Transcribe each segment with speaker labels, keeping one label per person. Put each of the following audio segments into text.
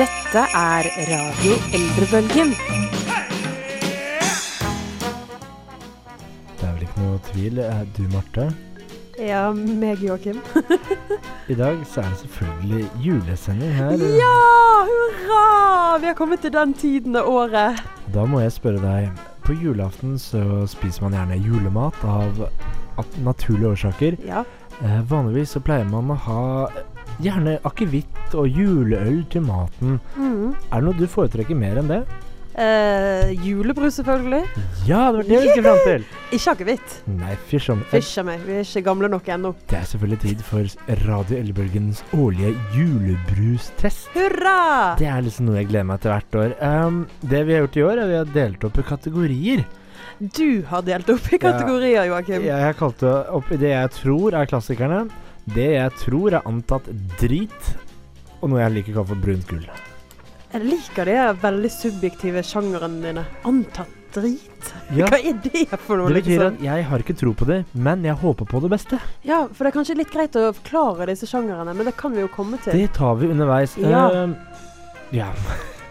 Speaker 1: Dette er Radio Eldrebølgen.
Speaker 2: Det er vel ikke noe tvil. eh, Du, Marte.
Speaker 3: Ja, meg, Joakim.
Speaker 2: I dag så er det selvfølgelig julesending her.
Speaker 3: Ja, hurra! Vi har kommet til den tiden av året.
Speaker 2: Da må jeg spørre deg. På julaften så spiser man gjerne julemat av at- naturlige årsaker.
Speaker 3: Ja.
Speaker 2: Eh, vanligvis så pleier man å ha eh, gjerne akevitt og juleøl til maten.
Speaker 3: Mm.
Speaker 2: Er det noe du foretrekker mer enn det?
Speaker 3: Eh, julebrus, selvfølgelig.
Speaker 2: Ja, det var det vi skulle fram til!
Speaker 3: Ikke akevitt.
Speaker 2: Nei, fysj om eh,
Speaker 3: Fysj a meg, vi er ikke gamle nok ennå.
Speaker 2: Det er selvfølgelig tid for Radio Ellebølgens årlige julebrustest.
Speaker 3: Hurra!
Speaker 2: Det er liksom noe jeg gleder meg til hvert år. Ehm, det vi har gjort i år, er vi har delt opp i kategorier.
Speaker 3: Du har delt opp i kategorier, Joakim.
Speaker 2: Jeg har kalt det opp i det jeg tror er klassikerne, det jeg tror er antatt drit, og noe jeg liker å kalle for brunt gull.
Speaker 3: Jeg liker de her veldig subjektive sjangerne dine. Antatt drit.
Speaker 2: Ja,
Speaker 3: Hva er det for noe,
Speaker 2: det betyr
Speaker 3: liksom?
Speaker 2: at jeg har ikke tro på det, men jeg håper på det beste.
Speaker 3: Ja, for det er kanskje litt greit å forklare disse sjangrene, men det kan vi jo komme til.
Speaker 2: Det tar vi underveis.
Speaker 3: Ja.
Speaker 2: Ehm, ja.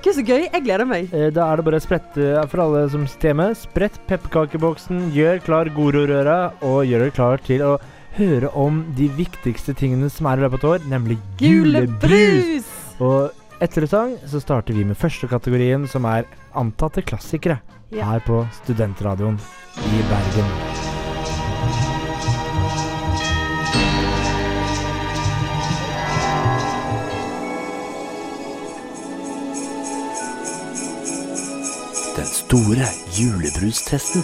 Speaker 3: Gud, så gøy. Jeg gleder meg.
Speaker 2: Eh, Da er det bare å sprette for alle som sitter hjemme. Sprett pepperkakeboksen, gjør klar Goro-røra, og gjør dere klar til å høre om de viktigste tingene som er i løpet av et år, nemlig julebrus.
Speaker 3: Julebrus!
Speaker 2: Og etter sang så starter vi med første kategorien, som er antatte klassikere,
Speaker 3: Ja.
Speaker 2: her på Studentradioen i Bergen.
Speaker 4: Den store julebrustesten.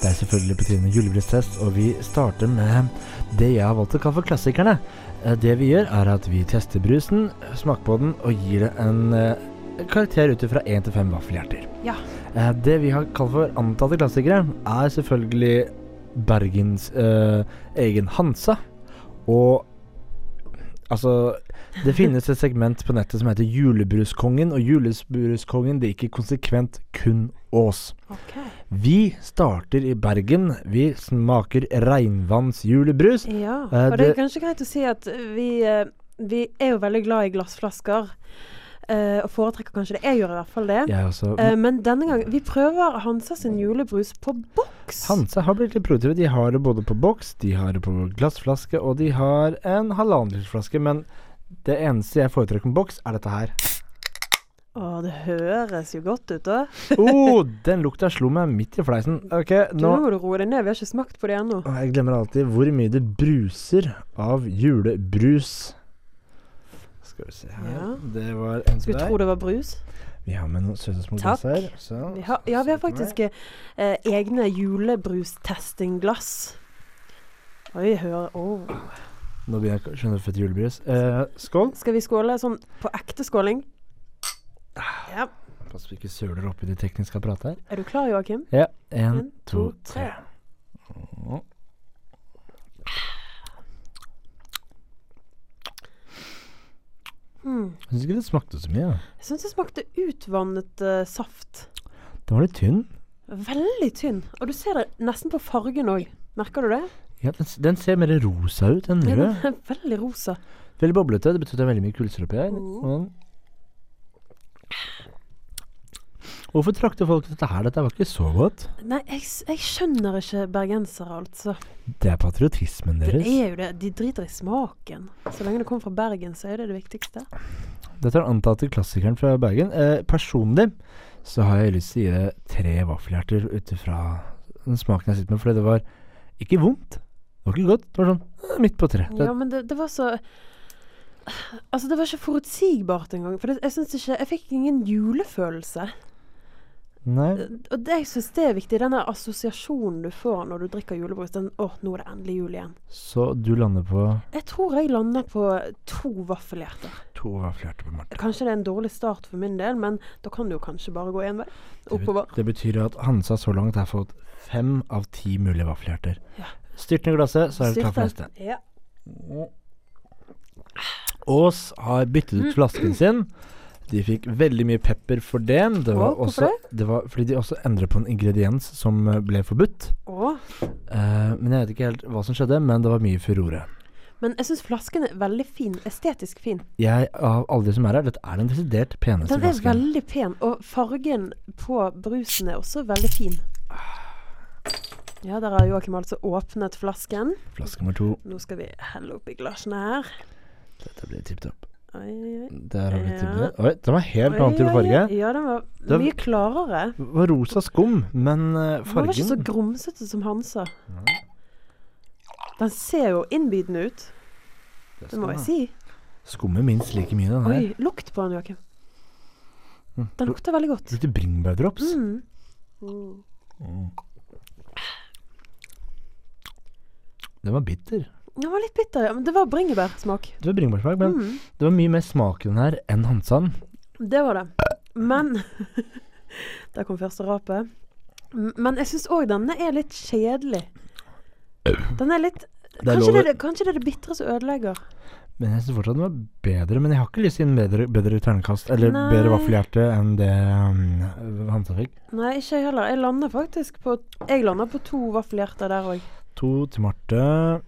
Speaker 2: Det er selvfølgelig på tide med julebrystest, og vi starter med det jeg har valgt å kalle for klassikerne. Eh, Det vi gjør, er at vi tester brusen, smaker på den og gir det en eh, karakter ut fra én til fem vaffelhjerter.
Speaker 3: Ja.
Speaker 2: Eh, Det vi har kalt for antatte klassikere, er selvfølgelig Bergens eh, egen Hansa. Og altså Det finnes et segment på nettet som heter Julebruskongen, og Julebruskongen det er ikke konsekvent kun Ås.
Speaker 3: Ok.
Speaker 2: Vi starter i Bergen. Vi smaker regnvannsjulebrus.
Speaker 3: Ja,
Speaker 2: Eh,
Speaker 3: og det
Speaker 2: det-
Speaker 3: er kanskje greit å si at vi, eh, vi er jo veldig glad i glassflasker. eh, og foretrekker kanskje det. Jeg gjør i hvert fall det.
Speaker 2: Jeg også.
Speaker 3: Eh, men denne gang Vi prøver Hansa sin julebrus på boks.
Speaker 2: Hansa har blitt litt produktive. De har det både på boks, de har det på glassflaske, og de har en halvannen liters flaske. Men det eneste jeg foretrekker med boks, er dette her.
Speaker 3: Å, det høres jo godt ut, da.
Speaker 2: Oh, den lukta slo meg midt i fleisen. Ok,
Speaker 3: Du, Nå
Speaker 2: nå
Speaker 3: må du roe deg ned. Vi har ikke smakt på det ennå.
Speaker 2: Å, Jeg glemmer alltid hvor mye det bruser av julebrus. Skal vi se her
Speaker 3: Ja.
Speaker 2: Det var en til
Speaker 3: Skulle tro
Speaker 2: deg.
Speaker 3: det var brus.
Speaker 2: Vi har med noen søte små
Speaker 3: Takk.
Speaker 2: glass her. Sånn. så-
Speaker 3: Vi har, ja, vi har
Speaker 2: Søte meg.
Speaker 3: faktisk eh, eh, egne julebrustestingglass. Oi, hør oh.
Speaker 2: Nå begynner jeg å skjønne fett julebrus. Eh, skål.
Speaker 3: Skal vi skåle sånn på ekte skåling? Ja.
Speaker 2: Pass på ikke søler oppi det tekniske apparatet her.
Speaker 3: Er du klar, Joakim?
Speaker 2: Ja. Én,
Speaker 3: En,
Speaker 2: to,
Speaker 3: to,
Speaker 2: tre.
Speaker 3: tre. Mm.
Speaker 2: Jeg syns ikke det smakte så mye.
Speaker 3: Jeg syns det smakte utvannet eh, saft.
Speaker 2: Den var litt tynn.
Speaker 3: Veldig tynn. Og du ser det nesten på fargen òg. Merker du det?
Speaker 2: Ja, den, s- den ser mer rosa ut enn
Speaker 3: Ja, den
Speaker 2: rød.
Speaker 3: er Veldig rosa.
Speaker 2: Veldig boblete. Det betyr at det er veldig mye kulser oppi her.
Speaker 3: Mm.
Speaker 2: Hvorfor trakter folk dette her? Dette var ikke så godt.
Speaker 3: Nei, jeg, s- jeg skjønner ikke bergensere, altså.
Speaker 2: Det er patriotismen
Speaker 3: Det
Speaker 2: deres.
Speaker 3: er jo det. De driter i smaken. Så lenge det kommer fra Bergen, så er det det viktigste.
Speaker 2: Dette er den antatte klassikeren fra Bergen. Eh, personlig så har jeg lyst til å gi det tre vaffelhjerter ut ifra den smaken jeg sitter med, fordi det var ikke vondt. Det var ikke godt. Det var sånn eh, midt på tre. Det,
Speaker 3: Ja, men det, det var så Altså, det var ikke forutsigbart engang. For det, jeg syns ikke Jeg fikk ingen julefølelse.
Speaker 2: Nei.
Speaker 3: Og det jeg syns det er viktig, den der assosiasjonen du får når du drikker julebrus. Den 'Å, nå er det endelig jul igjen'.
Speaker 2: Så du lander på
Speaker 3: Jeg tror jeg lander på to vaffelhjerter.
Speaker 2: to vaffelhjerter på Marte.
Speaker 3: Kanskje det er en dårlig start for min del, men da kan det jo kanskje bare gå én vei. Oppover.
Speaker 2: Det betyr at Hansa så langt har fått fem av ti mulige vaffelhjerter.
Speaker 3: Ja.
Speaker 2: Styrt ned glasset, så er det klart for neste.
Speaker 3: Styrte. Ja.
Speaker 2: Aas har byttet
Speaker 3: Mm.
Speaker 2: ut flasken sin. De fikk veldig mye pepper for det. Det var,
Speaker 3: Å, hvorfor
Speaker 2: også, det var fordi de også endret på en ingrediens som eh, ble forbudt.
Speaker 3: Å,
Speaker 2: Eh, men jeg vet ikke helt hva som skjedde, men det var mye furore.
Speaker 3: Men jeg syns flasken er veldig fin. Estetisk fin.
Speaker 2: Jeg, av alle de som er her, dette er den desidert peneste
Speaker 3: Den er
Speaker 2: flasken.
Speaker 3: veldig pen, og fargen på brusen er også veldig fin. Ja, der har Joakim altså åpnet flasken.
Speaker 2: Flaske nummer to.
Speaker 3: Nå skal vi helle oppi glassene her.
Speaker 2: Dette blir tipp topp.
Speaker 3: Oi, oi, oi.
Speaker 2: Der har vi tipp
Speaker 3: Ja.
Speaker 2: topp. Oi, den var helt
Speaker 3: Oi,
Speaker 2: annen type
Speaker 3: oi,
Speaker 2: farge.
Speaker 3: oi. Ja, den var
Speaker 2: Det-
Speaker 3: mye klarere.
Speaker 2: Det var rosa skum, men eh,
Speaker 3: Den var ikke så
Speaker 2: fargen
Speaker 3: grumsete som Hansa. Den ser jo innbydende ut, det må jeg si.
Speaker 2: Skummer minst like mye, den her.
Speaker 3: Oi, lukt på den, Joakim.
Speaker 2: Mm.
Speaker 3: Den lukter veldig godt.
Speaker 2: Brukte bringebærdrops.
Speaker 3: Mm.
Speaker 2: Den var bitter.
Speaker 3: Den var litt bitter, ja. Men det var bringebærsmak.
Speaker 2: Det var bringebærsmak, men
Speaker 3: Mm.
Speaker 2: det var mye mer smak i den her enn Hansan.
Speaker 3: Det var det. Men Der kom første rapet. M- Men jeg syns òg denne er litt kjedelig. Den er litt
Speaker 2: Det er
Speaker 3: Kanskje det
Speaker 2: lov å-
Speaker 3: er det, kanskje det, er det bitre som ødelegger.
Speaker 2: Men jeg syns fortsatt den var bedre. Men jeg har ikke lyst til å gi en bedre, bedre ternekast, eller
Speaker 3: Nei.
Speaker 2: bedre vaffelhjerte, enn det um, Hansa fikk.
Speaker 3: Nei, ikke jeg heller. Jeg lander faktisk på Jeg lander på to vaffelhjerter der òg.
Speaker 2: To til Marte.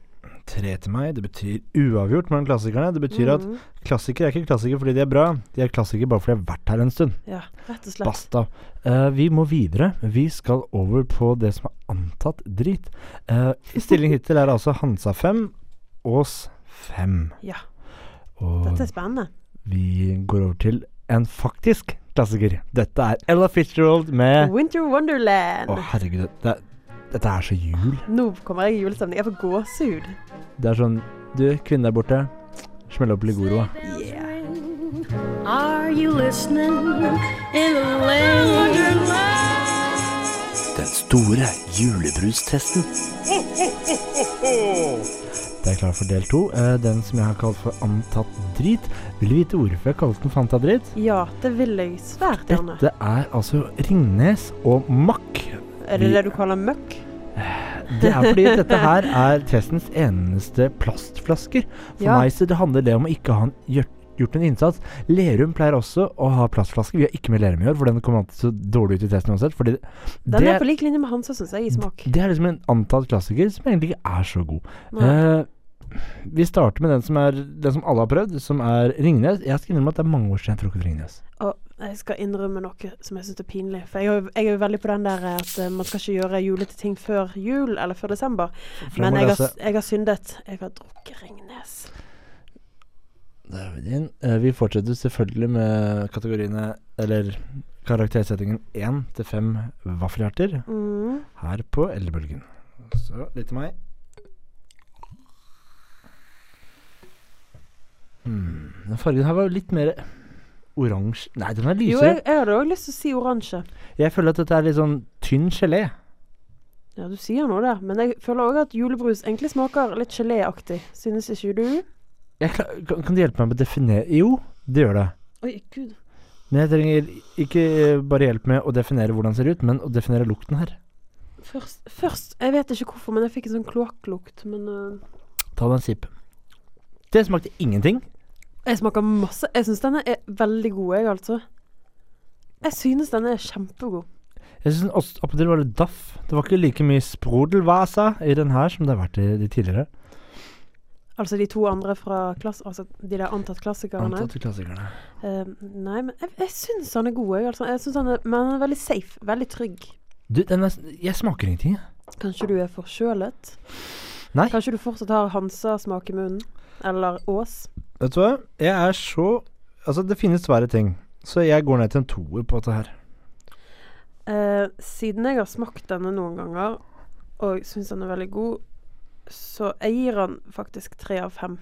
Speaker 2: Tre til meg. Det betyr uavgjort mellom klassikerne. Det betyr
Speaker 3: Mhm.
Speaker 2: at klassikere er ikke klassikere fordi de er bra. De er klassikere bare fordi de har vært her en stund.
Speaker 3: Ja, rett og slett.
Speaker 2: Basta. Eh, vi må videre. Vi skal over på det som er antatt drit. Uh, stilling hittil er altså Hansa 5, Ås 5.
Speaker 3: Ja.
Speaker 2: Og
Speaker 3: Dette er spennende.
Speaker 2: vi går over til en faktisk klassiker. Dette er Ella Fitzgerald med Å,
Speaker 3: Winter Wonderland.
Speaker 2: herregud. Det, dette er så jul.
Speaker 3: Nå kommer jeg i julestemning. Jeg får gåsehud.
Speaker 2: Det er sånn Du, kvinnen der borte. Smell opp Ligoroa.
Speaker 3: Yeah.
Speaker 5: Are you listening in the land?
Speaker 4: Den store julebrustesten.
Speaker 2: Det er klart for del to. Eh, den som jeg har kalt for antatt drit. Vil du vite hvorfor jeg kalte den for antatt drit?
Speaker 3: Ja, det vil jeg svært gjerne.
Speaker 2: Dette er altså Ringnes og Mack.
Speaker 3: Er det det du kaller møkk?
Speaker 2: Det er fordi dette her er testens eneste plastflasker. For
Speaker 3: Ja.
Speaker 2: meg så det handler det om å ikke ha en gjort, gjort en innsats. Lerum pleier også å ha plastflasker. Vi har ikke med Lerum i år, for den kom alltid så dårlig ut i testen uansett. Fordi det,
Speaker 3: Den er på
Speaker 2: det,
Speaker 3: lik linje med Hansa, syns jeg, i smak.
Speaker 2: det er liksom en antatt klassiker som egentlig ikke er så god.
Speaker 3: Nei.
Speaker 2: Eh, vi starter med den som, er, den som alle har prøvd, som er Ringnes. Jeg skal innrømme at det er mange år siden jeg har trukket Ringnes.
Speaker 3: Og jeg skal innrømme noe som jeg syns er pinlig. For jeg er, jo- jeg er jo veldig på den der eh, at eh, man skal ikke gjøre julete ting før jul eller før desember.
Speaker 2: For
Speaker 3: Men
Speaker 2: må
Speaker 3: jeg
Speaker 2: lese-
Speaker 3: har, jeg har syndet. Jeg har drukket Ringnes.
Speaker 2: Der har vi den. Eh, Vi fortsetter selvfølgelig med kategoriene, eller karaktersettingen 1 til 5 vaffelhjerter
Speaker 3: Mm.
Speaker 2: her på Eldrebølgen. Så litt til meg. Hmm. Den fargen her var jo litt mer oransje Nei, den er
Speaker 3: Jo,
Speaker 2: lysere.
Speaker 3: jeg, jeg hadde òg lyst til å si oransje.
Speaker 2: Jeg... føler at dette er litt sånn tynn gelé.
Speaker 3: Ja, du sier noe der. Men jeg føler òg at julebrus egentlig smaker litt geléaktig. Synes ikke du?
Speaker 2: Jeg kla- kan, kan du hjelpe meg med å definere Jo, det gjør det.
Speaker 3: Oi, gud.
Speaker 2: Men jeg trenger ikke eh, bare hjelp med å definere hvordan den ser ut, men å definere lukten her.
Speaker 3: Først, først Jeg vet ikke hvorfor, men jeg fikk en sånn kloakklukt. Men eh,
Speaker 2: Ta deg en sipp. Det smakte ingenting.
Speaker 3: jeg smaker masse. Jeg syns denne er veldig god, jeg, altså. Jeg synes denne er kjempegod.
Speaker 2: Jeg syns også opp til var litt daff. Det var ikke like mye sprudelvasa i den her som det har vært i de tidligere.
Speaker 3: Altså de to andre fra klass... Altså de der antatt klassikerne.
Speaker 2: Antatt klassikerne.
Speaker 3: Eh, nei, men jeg, jeg syns han er god, jeg. Altså. Jeg synes han er, men han er veldig safe. Veldig trygg.
Speaker 2: Du, den er, s- jeg smaker ingenting, jeg.
Speaker 3: Kanskje du er forkjølet?
Speaker 2: Nei.
Speaker 3: Kanskje du fortsatt har Hansa-smak i munnen? Eller Ås?
Speaker 2: Vet du hva? Jeg er så Altså, det finnes svære ting. Så jeg går ned til en toer på dette her.
Speaker 3: Eh, siden jeg har smakt denne noen ganger, og syns den er veldig god, så jeg gir han faktisk tre av fem.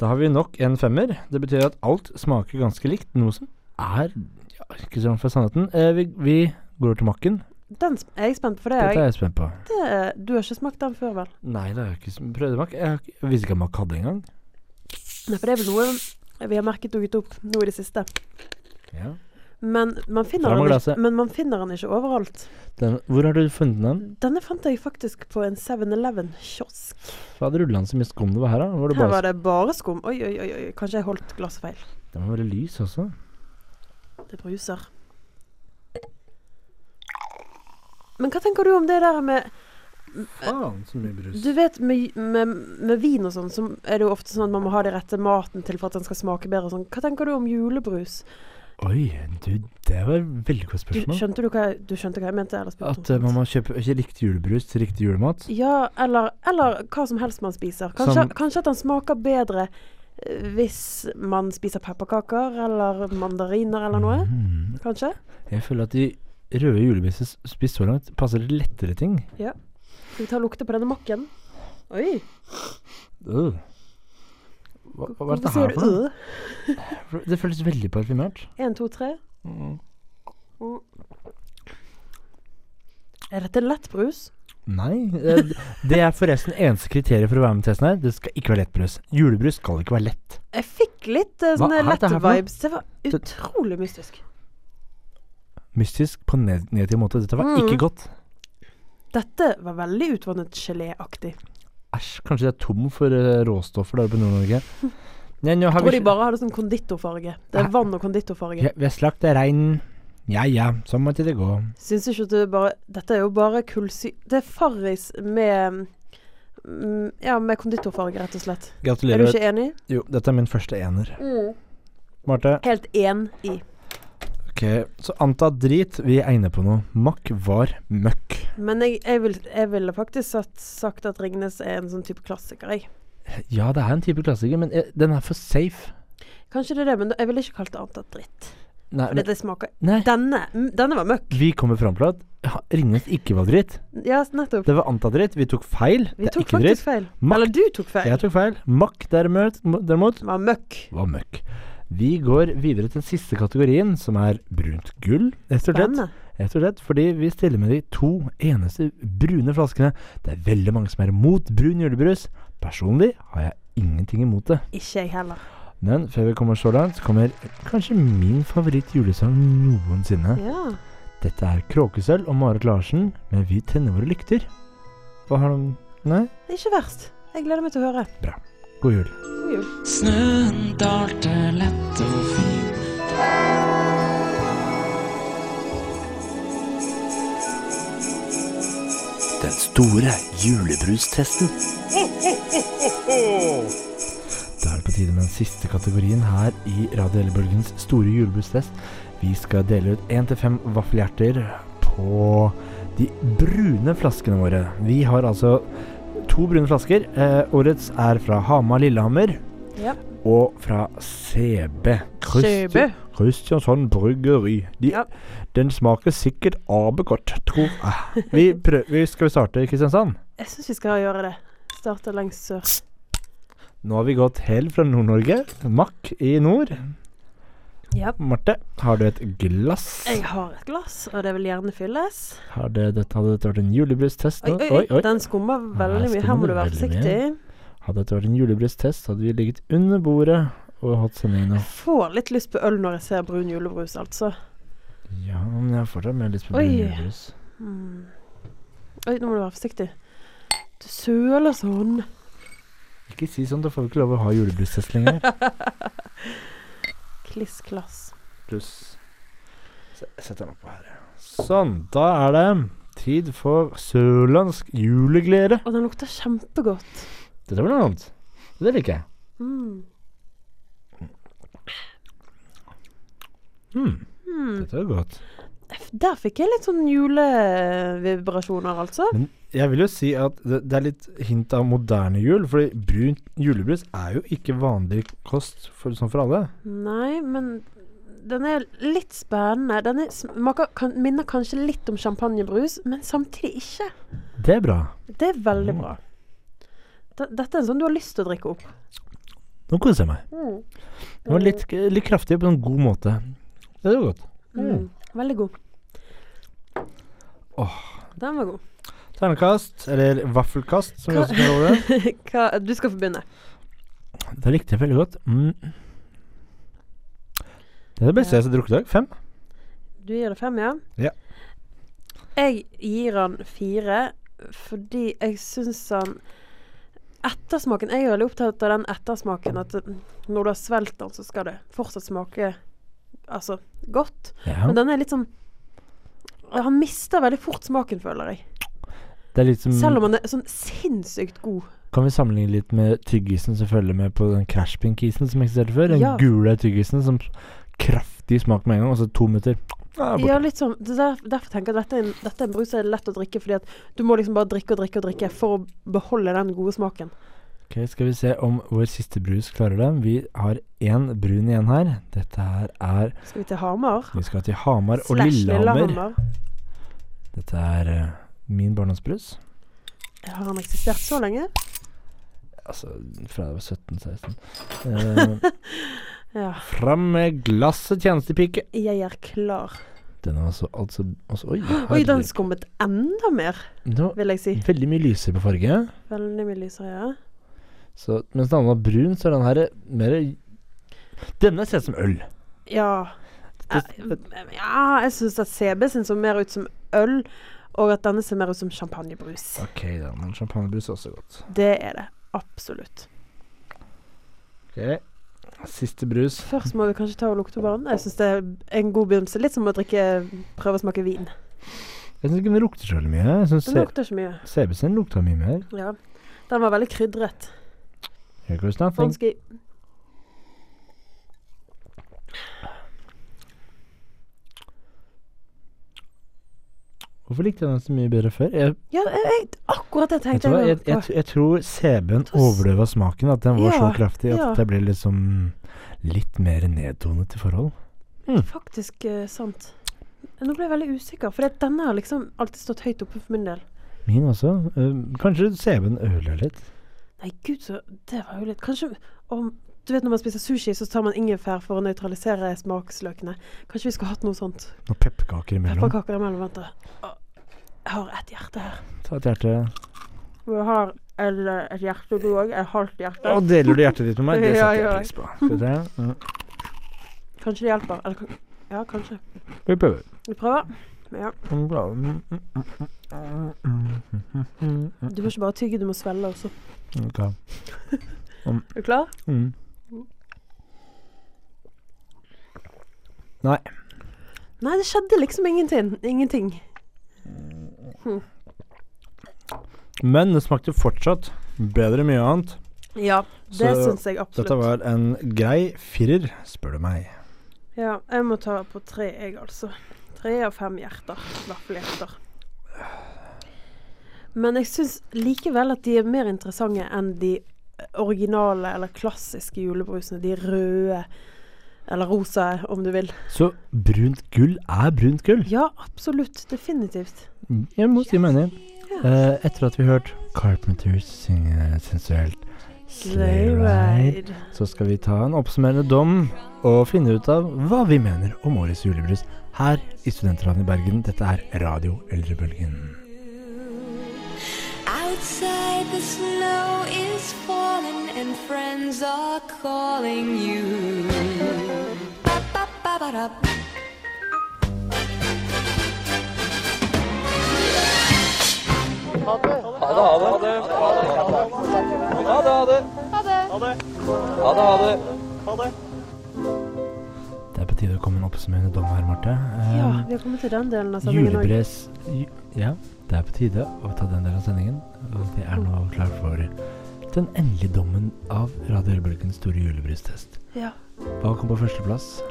Speaker 2: Da har vi nok en femmer. Det betyr at alt smaker ganske likt. Noe som er ja, ikke sånn for sannheten. Eh, vi, vi går til makken.
Speaker 3: Den sp- er jeg spent på, det er
Speaker 2: Dette
Speaker 3: jeg.
Speaker 2: er jeg spent på.
Speaker 3: Det- Du har ikke smakt den før, vel?
Speaker 2: Nei, det er jo ikke som prøvemakk. Jeg, har ikke- jeg visste ikke at makk hadde engang.
Speaker 3: Nei, for det er vel noe vi har merket dukket opp nå i det siste.
Speaker 2: Ja.
Speaker 3: Men man finner,
Speaker 2: Fram med
Speaker 3: den
Speaker 2: glasset.
Speaker 3: ikke, men man finner den ikke overalt.
Speaker 2: Den, hvor har du funnet den?
Speaker 3: Denne fant jeg faktisk på en 7-Eleven-kiosk.
Speaker 2: Hva hadde rullet han så mye skum det var her, da? Var det
Speaker 3: Her
Speaker 2: bare
Speaker 3: var det bare skum. Oi, oi, oi, oi. kanskje jeg holdt glasset feil.
Speaker 2: Den var veldig lys også.
Speaker 3: Det bruser. Men hva tenker du om det der med
Speaker 2: Faen, så mye brus.
Speaker 3: Du vet, med, med, med vin og sånn, så er det jo ofte sånn at man må ha den rette maten til for at den skal smake bedre og sånn. Hva tenker du om julebrus?
Speaker 2: Oi, du, det var et veldig
Speaker 3: Du,
Speaker 2: godt spørsmål.
Speaker 3: skjønte du hva jeg, du skjønte hva jeg mente? Eller spurte
Speaker 2: At
Speaker 3: om?
Speaker 2: eh, man må kjøpe ikke riktig julebrus til riktig julemat.
Speaker 3: Ja, eller, eller hva som helst man spiser. Kanskje,
Speaker 2: Som-
Speaker 3: kanskje at den smaker bedre eh, hvis man spiser pepperkaker eller mandariner eller noe.
Speaker 2: Mm.
Speaker 3: Kanskje?
Speaker 2: Jeg føler at de røde julebrusene s- spist så langt passer til lettere ting.
Speaker 3: Skal vi ta og lukte på denne makken? Oi.
Speaker 2: Øh. Hva, hva er
Speaker 3: Hvorfor
Speaker 2: dette her
Speaker 3: sier
Speaker 2: for
Speaker 3: du
Speaker 2: noe?
Speaker 3: øh?
Speaker 2: Øh. Det føles veldig parfymert.
Speaker 3: Én, to, tre.
Speaker 2: Mm.
Speaker 3: Er dette lettbrus?
Speaker 2: Nei. eh, Det er forresten eneste kriteriet for å være med i testen her. Det skal ikke være lettbrus. Julebrus skal ikke være lett.
Speaker 3: Jeg fikk litt eh,
Speaker 2: Hva
Speaker 3: sånne
Speaker 2: er dette her for noe?
Speaker 3: lette-vibes. Det var utrolig mystisk.
Speaker 2: Mystisk på ned negativ måte. Dette var ikke
Speaker 3: Mm.
Speaker 2: godt.
Speaker 3: Dette var veldig utvannet geléaktig.
Speaker 2: Æsj, kanskje de er tom for eh, råstoffer der oppe i Nord-Norge. Nei, nå har
Speaker 3: Tror de
Speaker 2: vi ikke-
Speaker 3: bare hadde sånn konditorfarge. Det er
Speaker 2: Hæ?
Speaker 3: vann og konditorfarge.
Speaker 2: Ja, Vi har slakt reinen. Ja ja, sånn måtte det gå.
Speaker 3: Syns ikke at det bare Dette er jo bare kullsy... Det er farris med mm, Ja, med konditorfarge, rett og slett. Er du
Speaker 2: Gratulerer.
Speaker 3: ikke enig?
Speaker 2: Jo, dette er min første ener. Marte.
Speaker 3: Helt enig.
Speaker 2: Ok, så anta drit, vi er inne på noe. Makk var møkk.
Speaker 3: Men jeg, jeg, vil, jeg ville faktisk sagt, sagt at Ringnes er en sånn type klassiker, jeg.
Speaker 2: Ja, det er en type klassiker, men eh, den er for safe.
Speaker 3: Kanskje det er det, men jeg ville ikke kalt det annet enn dritt.
Speaker 2: Nei,
Speaker 3: For
Speaker 2: men,
Speaker 3: det smaker
Speaker 2: nei.
Speaker 3: Denne mm, denne var møkk.
Speaker 2: vi kommer fram til at ja, Ringnes ikke var dritt.
Speaker 3: Ja, nettopp.
Speaker 2: Det var anta dritt, vi tok feil.
Speaker 3: Vi
Speaker 2: det er
Speaker 3: tok
Speaker 2: ikke dritt.
Speaker 3: faktisk feil.
Speaker 2: Makt.
Speaker 3: Eller du tok feil.
Speaker 2: Jeg tok feil. Makk derimot, derimot
Speaker 3: Det var møkk.
Speaker 2: var møkk. Vi går videre til den siste kategorien, som er brunt gull. Rett og slett.
Speaker 3: Spennende.
Speaker 2: Rett og slett fordi vi stiller med de to eneste brune flaskene. Det er veldig mange som er imot brun julebrus. Personlig har jeg ingenting imot det.
Speaker 3: Ikke jeg heller.
Speaker 2: Men før vi kommer så langt, så kommer kanskje min favoritt julesang noensinne.
Speaker 3: Ja.
Speaker 2: Dette er Kråkesølv og Marit Larsen med Vi tenner våre lykter. Hva har de Nei?
Speaker 3: Det er ikke verst. Jeg gleder meg til å høre.
Speaker 2: God jul.
Speaker 3: God jul.
Speaker 6: Snøen dalte lett og fin.
Speaker 4: Den store julebrustesten.
Speaker 2: Da er det på tide med den siste kategorien her i Radio Ellebølgens store julebrustest. Vi skal dele ut én til fem vaffelhjerter på de brune flaskene våre. Vi har altså to brune flasker. Eh, årets er fra Hamar Lillehammer.
Speaker 3: Ja.
Speaker 2: Og fra CB. Christi-
Speaker 3: Kjøbe.
Speaker 2: Kristiansand Bryggeri. De,
Speaker 3: Ja.
Speaker 2: Den smaker sikkert arbegodt, tror jeg. Vi prøv, vi- skal vi starte i Kristiansand?
Speaker 3: Jeg syns vi skal gjøre det. Starte lengst sør.
Speaker 2: Nå har vi gått helt fra Nord-Norge. Mack i nord.
Speaker 3: Ja.
Speaker 2: Marte, har du et glass?
Speaker 3: Jeg har et glass, og det vil gjerne fylles.
Speaker 2: Har det, dette, hadde dette vært en julebrustest
Speaker 3: Oi,
Speaker 2: nå?
Speaker 3: oi, oi. Den skummer veldig
Speaker 2: Nei,
Speaker 3: mye. Her må
Speaker 2: skummer
Speaker 3: du være
Speaker 2: veldig
Speaker 3: forsiktig.
Speaker 2: Hadde dette vært en julebrustest, hadde vi ligget under bordet og hatt sendingen nå.
Speaker 3: Jeg får litt lyst på øl når jeg ser brun julebrus, altså.
Speaker 2: Ja, men jeg er fortsatt med litt på
Speaker 3: Oi.
Speaker 2: brun julebrus.
Speaker 3: Mm. Oi, nå må du være forsiktig. Du søler sånn.
Speaker 2: Ikke si sånn, da får vi ikke lov å ha julebrustest lenger.
Speaker 3: Kliss klass.
Speaker 2: Pluss Se- Setter den oppå her. Sånn, da er det tid for sørlandsk juleglede.
Speaker 3: Og den lukter kjempegodt.
Speaker 2: Dette var noe annet. Det liker jeg.
Speaker 3: Mm.
Speaker 2: Hmm,
Speaker 3: Mm.
Speaker 2: Dette var godt.
Speaker 3: F- Der fikk jeg litt sånn julevibrasjoner, altså.
Speaker 2: Jeg vil jo si at det, det er litt hint av moderne jul, fordi brunt julebrus er jo ikke vanlig kost for, sånn for alle.
Speaker 3: Nei, men den er litt spennende. Den er, smaker, kan, minner kanskje litt om champagnebrus, men samtidig ikke.
Speaker 2: Det er bra.
Speaker 3: Det er
Speaker 2: Mm.
Speaker 3: veldig bra. D dette er en sånn du har lyst til å drikke opp.
Speaker 2: Nå koser jeg meg.
Speaker 3: Mm.
Speaker 2: Den var litt, litt kraftig på en god måte. Det var godt. Hmm.
Speaker 3: Mm. Veldig god. Den var god.
Speaker 2: Ternekast, eller vaffelkast, som vi
Speaker 3: Hva-
Speaker 2: også kaller det.
Speaker 3: Hva, du skal få begynne.
Speaker 2: Det likte jeg veldig godt. Mm. Det er det beste jeg har drukket i dag. Fem.
Speaker 3: Du gir det fem, ja?
Speaker 2: Ja.
Speaker 3: Jeg gir han fire fordi jeg syns han Ettersmaken Jeg er veldig opptatt av den ettersmaken at mm, når du har svelget den, så skal det fortsatt smake altså godt.
Speaker 2: Ja.
Speaker 3: Men den er litt sånn Han mister veldig fort smaken, føler jeg.
Speaker 2: Det er litt som
Speaker 3: Selv om han er sånn sinnssykt god.
Speaker 2: Kan vi sammenligne litt med tyggisen som følger med på den Crash Pink-isen som eksisterte før? Den
Speaker 3: Ja.
Speaker 2: gule tyggisen som kraftig smak med en gang, og så to minutter ah,
Speaker 3: Ja, litt sånn, det der, Derfor tenker jeg at dette er en, dette er en brus som er lett å drikke, fordi at du må liksom bare drikke og drikke og drikke for å beholde den gode smaken.
Speaker 2: Ok, Skal vi se om vår siste brus klarer det. Vi har én brun igjen her. Dette her er
Speaker 3: Skal vi til Hamar?
Speaker 2: Vi skal til Hamar og
Speaker 3: Slash
Speaker 2: Lillehammer. Dette er eh, min barndomsbrus.
Speaker 3: Har han eksistert så lenge?
Speaker 2: Altså fra jeg var 17-16. Eh,
Speaker 3: Ja.
Speaker 2: fram med glasset, tjenestepike.
Speaker 3: Jeg er klar.
Speaker 2: Den er altså, altså, altså Oi,
Speaker 3: Oi, den
Speaker 2: herregud.
Speaker 3: skummet enda mer,
Speaker 2: Den var
Speaker 3: vil jeg si.
Speaker 2: veldig mye lysere på farge.
Speaker 3: Veldig mye lysere, ja.
Speaker 2: Så, mens den andre var brun, så er den her mer Denne ser ut som øl.
Speaker 3: Ja. Eh, ja jeg syns at CB sin så mer ut som øl, og at denne ser mer ut som champagnebrus.
Speaker 2: Ok, da, men champagnebrus er også godt.
Speaker 3: Det er det. Absolutt.
Speaker 2: Ok, Siste brus.
Speaker 3: Først må vi kanskje ta og lukte på den. Jeg syns det er en god begynnelse. Litt som å drikke Prøve å smake vin.
Speaker 2: Jeg syns ikke den lukter så veldig mye. Jeg synes
Speaker 3: Den lukter ikke mye.
Speaker 2: CB sin lukta mye mer.
Speaker 3: Ja. Den var veldig krydret.
Speaker 2: Here goes nothing.
Speaker 3: Vanskelig.
Speaker 2: Hvorfor likte jeg den så mye bedre før? Jeg,
Speaker 3: Ja, jeg, jeg, akkurat det
Speaker 2: vet
Speaker 3: tenkte
Speaker 2: du hva?
Speaker 3: jeg.
Speaker 2: jeg, jeg, jeg tror CB-en
Speaker 3: Da s-
Speaker 2: overdøva smaken. At den var så
Speaker 3: Ja,
Speaker 2: kraftig at
Speaker 3: ja.
Speaker 2: det ble liksom litt mer nedtonet i forhold.
Speaker 3: Faktisk eh, sant. Nå ble jeg veldig usikker, for denne har liksom alltid stått høyt oppe for min del.
Speaker 2: Min også. Eh, kanskje CB-en øla litt.
Speaker 3: Nei, gud, så det var jo litt Kanskje om Du vet når man spiser sushi, så tar man ingefær for å nøytralisere smaksløkene. Kanskje vi skulle hatt noe sånt?
Speaker 2: Noen pepperkaker imellom.
Speaker 3: Pepperkaker imellom, vent da. Å, Jeg har ett hjerte her.
Speaker 2: Ta et hjerte.
Speaker 3: Du har et, et hjerte, du òg. Et halvt hjerte.
Speaker 2: Å, deler du hjertet ditt med meg? Det
Speaker 3: Ja,
Speaker 2: setter jeg
Speaker 3: ja.
Speaker 2: pris på. Skal vi se. Mm.
Speaker 3: Kanskje det hjelper. Eller kan- Ja, kanskje.
Speaker 2: Vi prøver. Mm,
Speaker 3: Vi prøver. Ja. Du må ikke bare tygge, du må svelle også.
Speaker 2: Ok.
Speaker 3: Er du klar?
Speaker 2: Mm. Nei.
Speaker 3: Nei, det skjedde liksom ingenting. Ingenting.
Speaker 2: Men det smakte fortsatt bedre enn mye annet.
Speaker 3: Ja, det
Speaker 2: Så
Speaker 3: syns jeg
Speaker 2: Dette
Speaker 3: absolutt.
Speaker 2: var en grei firer, spør du meg.
Speaker 3: Ja, jeg må ta på tre, jeg, altså. Tre av fem hjerter. Vaffelhjerter. Men jeg syns likevel at de er mer interessante enn de originale eller klassiske julebrusene. De røde, eller rosa, om du vil.
Speaker 2: Så brunt gull er brunt gull.
Speaker 3: Ja, absolutt. Definitivt.
Speaker 2: Jeg må si meg enig. Eh, etter at vi hørte Carpenters synge sensuelt Sleigh Ride, så skal vi ta en oppsummerende dom og finne ut av hva vi mener om årets julebrus her i Studentradioen i Bergen. Dette er Radio Eldrebølgen.
Speaker 7: Outside the snow is falling and friends are calling you. Ba-ba-ba-ba-da.
Speaker 2: Det er på tide å komme en oppsummerende dom her, Marte. Eh,
Speaker 3: Ja, altså, vi har kommet til den delen av sendingen òg.
Speaker 2: Julebrus ju- Ja, det er på tide å ta den delen av sendingen. Og vi er nå klar for den endelige dommen av Radio Ølbølgens store julebrustest.
Speaker 3: Ja.
Speaker 2: Hva kom på førsteplass?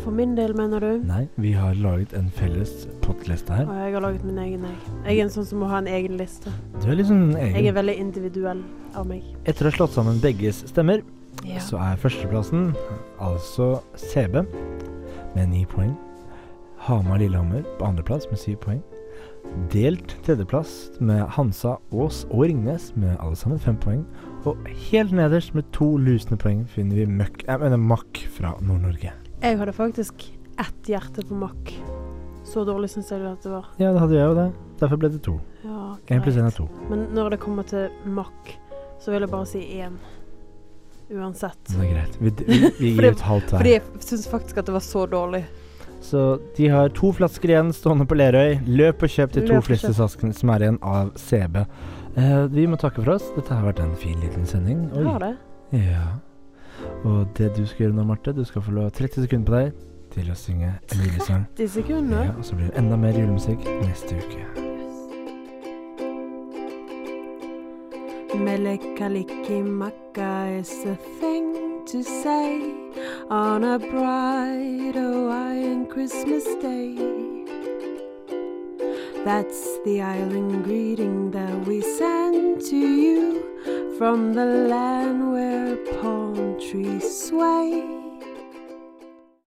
Speaker 3: For min del, mener du?
Speaker 2: Nei, vi har laget en felles pottliste her.
Speaker 3: Og jeg har laget min egen, jeg. Jeg er en sånn som må ha en egen liste.
Speaker 2: Du er liksom en
Speaker 3: Jeg er
Speaker 2: egen.
Speaker 3: veldig individuell av meg.
Speaker 2: Etter å ha slått sammen begges stemmer,
Speaker 3: Ja.
Speaker 2: så er førsteplassen altså CB med ni poeng. Hamar-Lillehammer på andreplass med syv poeng. Delt tredjeplass med Hansa, Ås og Ringnes med alle sammen fem poeng. Og helt nederst med to lusende poeng finner vi møkk, jeg mener Makk fra Nord-Norge.
Speaker 3: Jeg hadde faktisk ett hjerte på makk. Så dårlig syns jeg at det var.
Speaker 2: Ja, det hadde jeg jo det. Derfor ble det to.
Speaker 3: Ja,
Speaker 2: Én pluss én er
Speaker 3: greit.
Speaker 2: to.
Speaker 3: Men når det kommer til makk, så vil jeg bare si én. Uansett.
Speaker 2: Så det er greit. Vi, vi, vi
Speaker 3: Fordi-
Speaker 2: gir et halvt hver.
Speaker 3: Fordi jeg syns faktisk at det var så dårlig.
Speaker 2: Så de har to flasker igjen stående på Lerøy. Løp og kjøp de to
Speaker 3: Løp og kjøp.
Speaker 2: flistesaskene som er igjen av CB. Eh, vi må takke for oss. Dette har vært en fin liten sending.
Speaker 3: Jeg har det.
Speaker 2: Ja. Og det du skal gjøre nå, Marte, du skal få lov 30 sekunder på deg til å synge en julesang.
Speaker 3: De sekundene.
Speaker 2: Ja, og så blir det enda mer julemusikk neste uke.
Speaker 3: Melekalikimaka is a thing to say on a bright Hawaiian Christmas day. That's the island greeting that we send to you from the land where palm trees sway.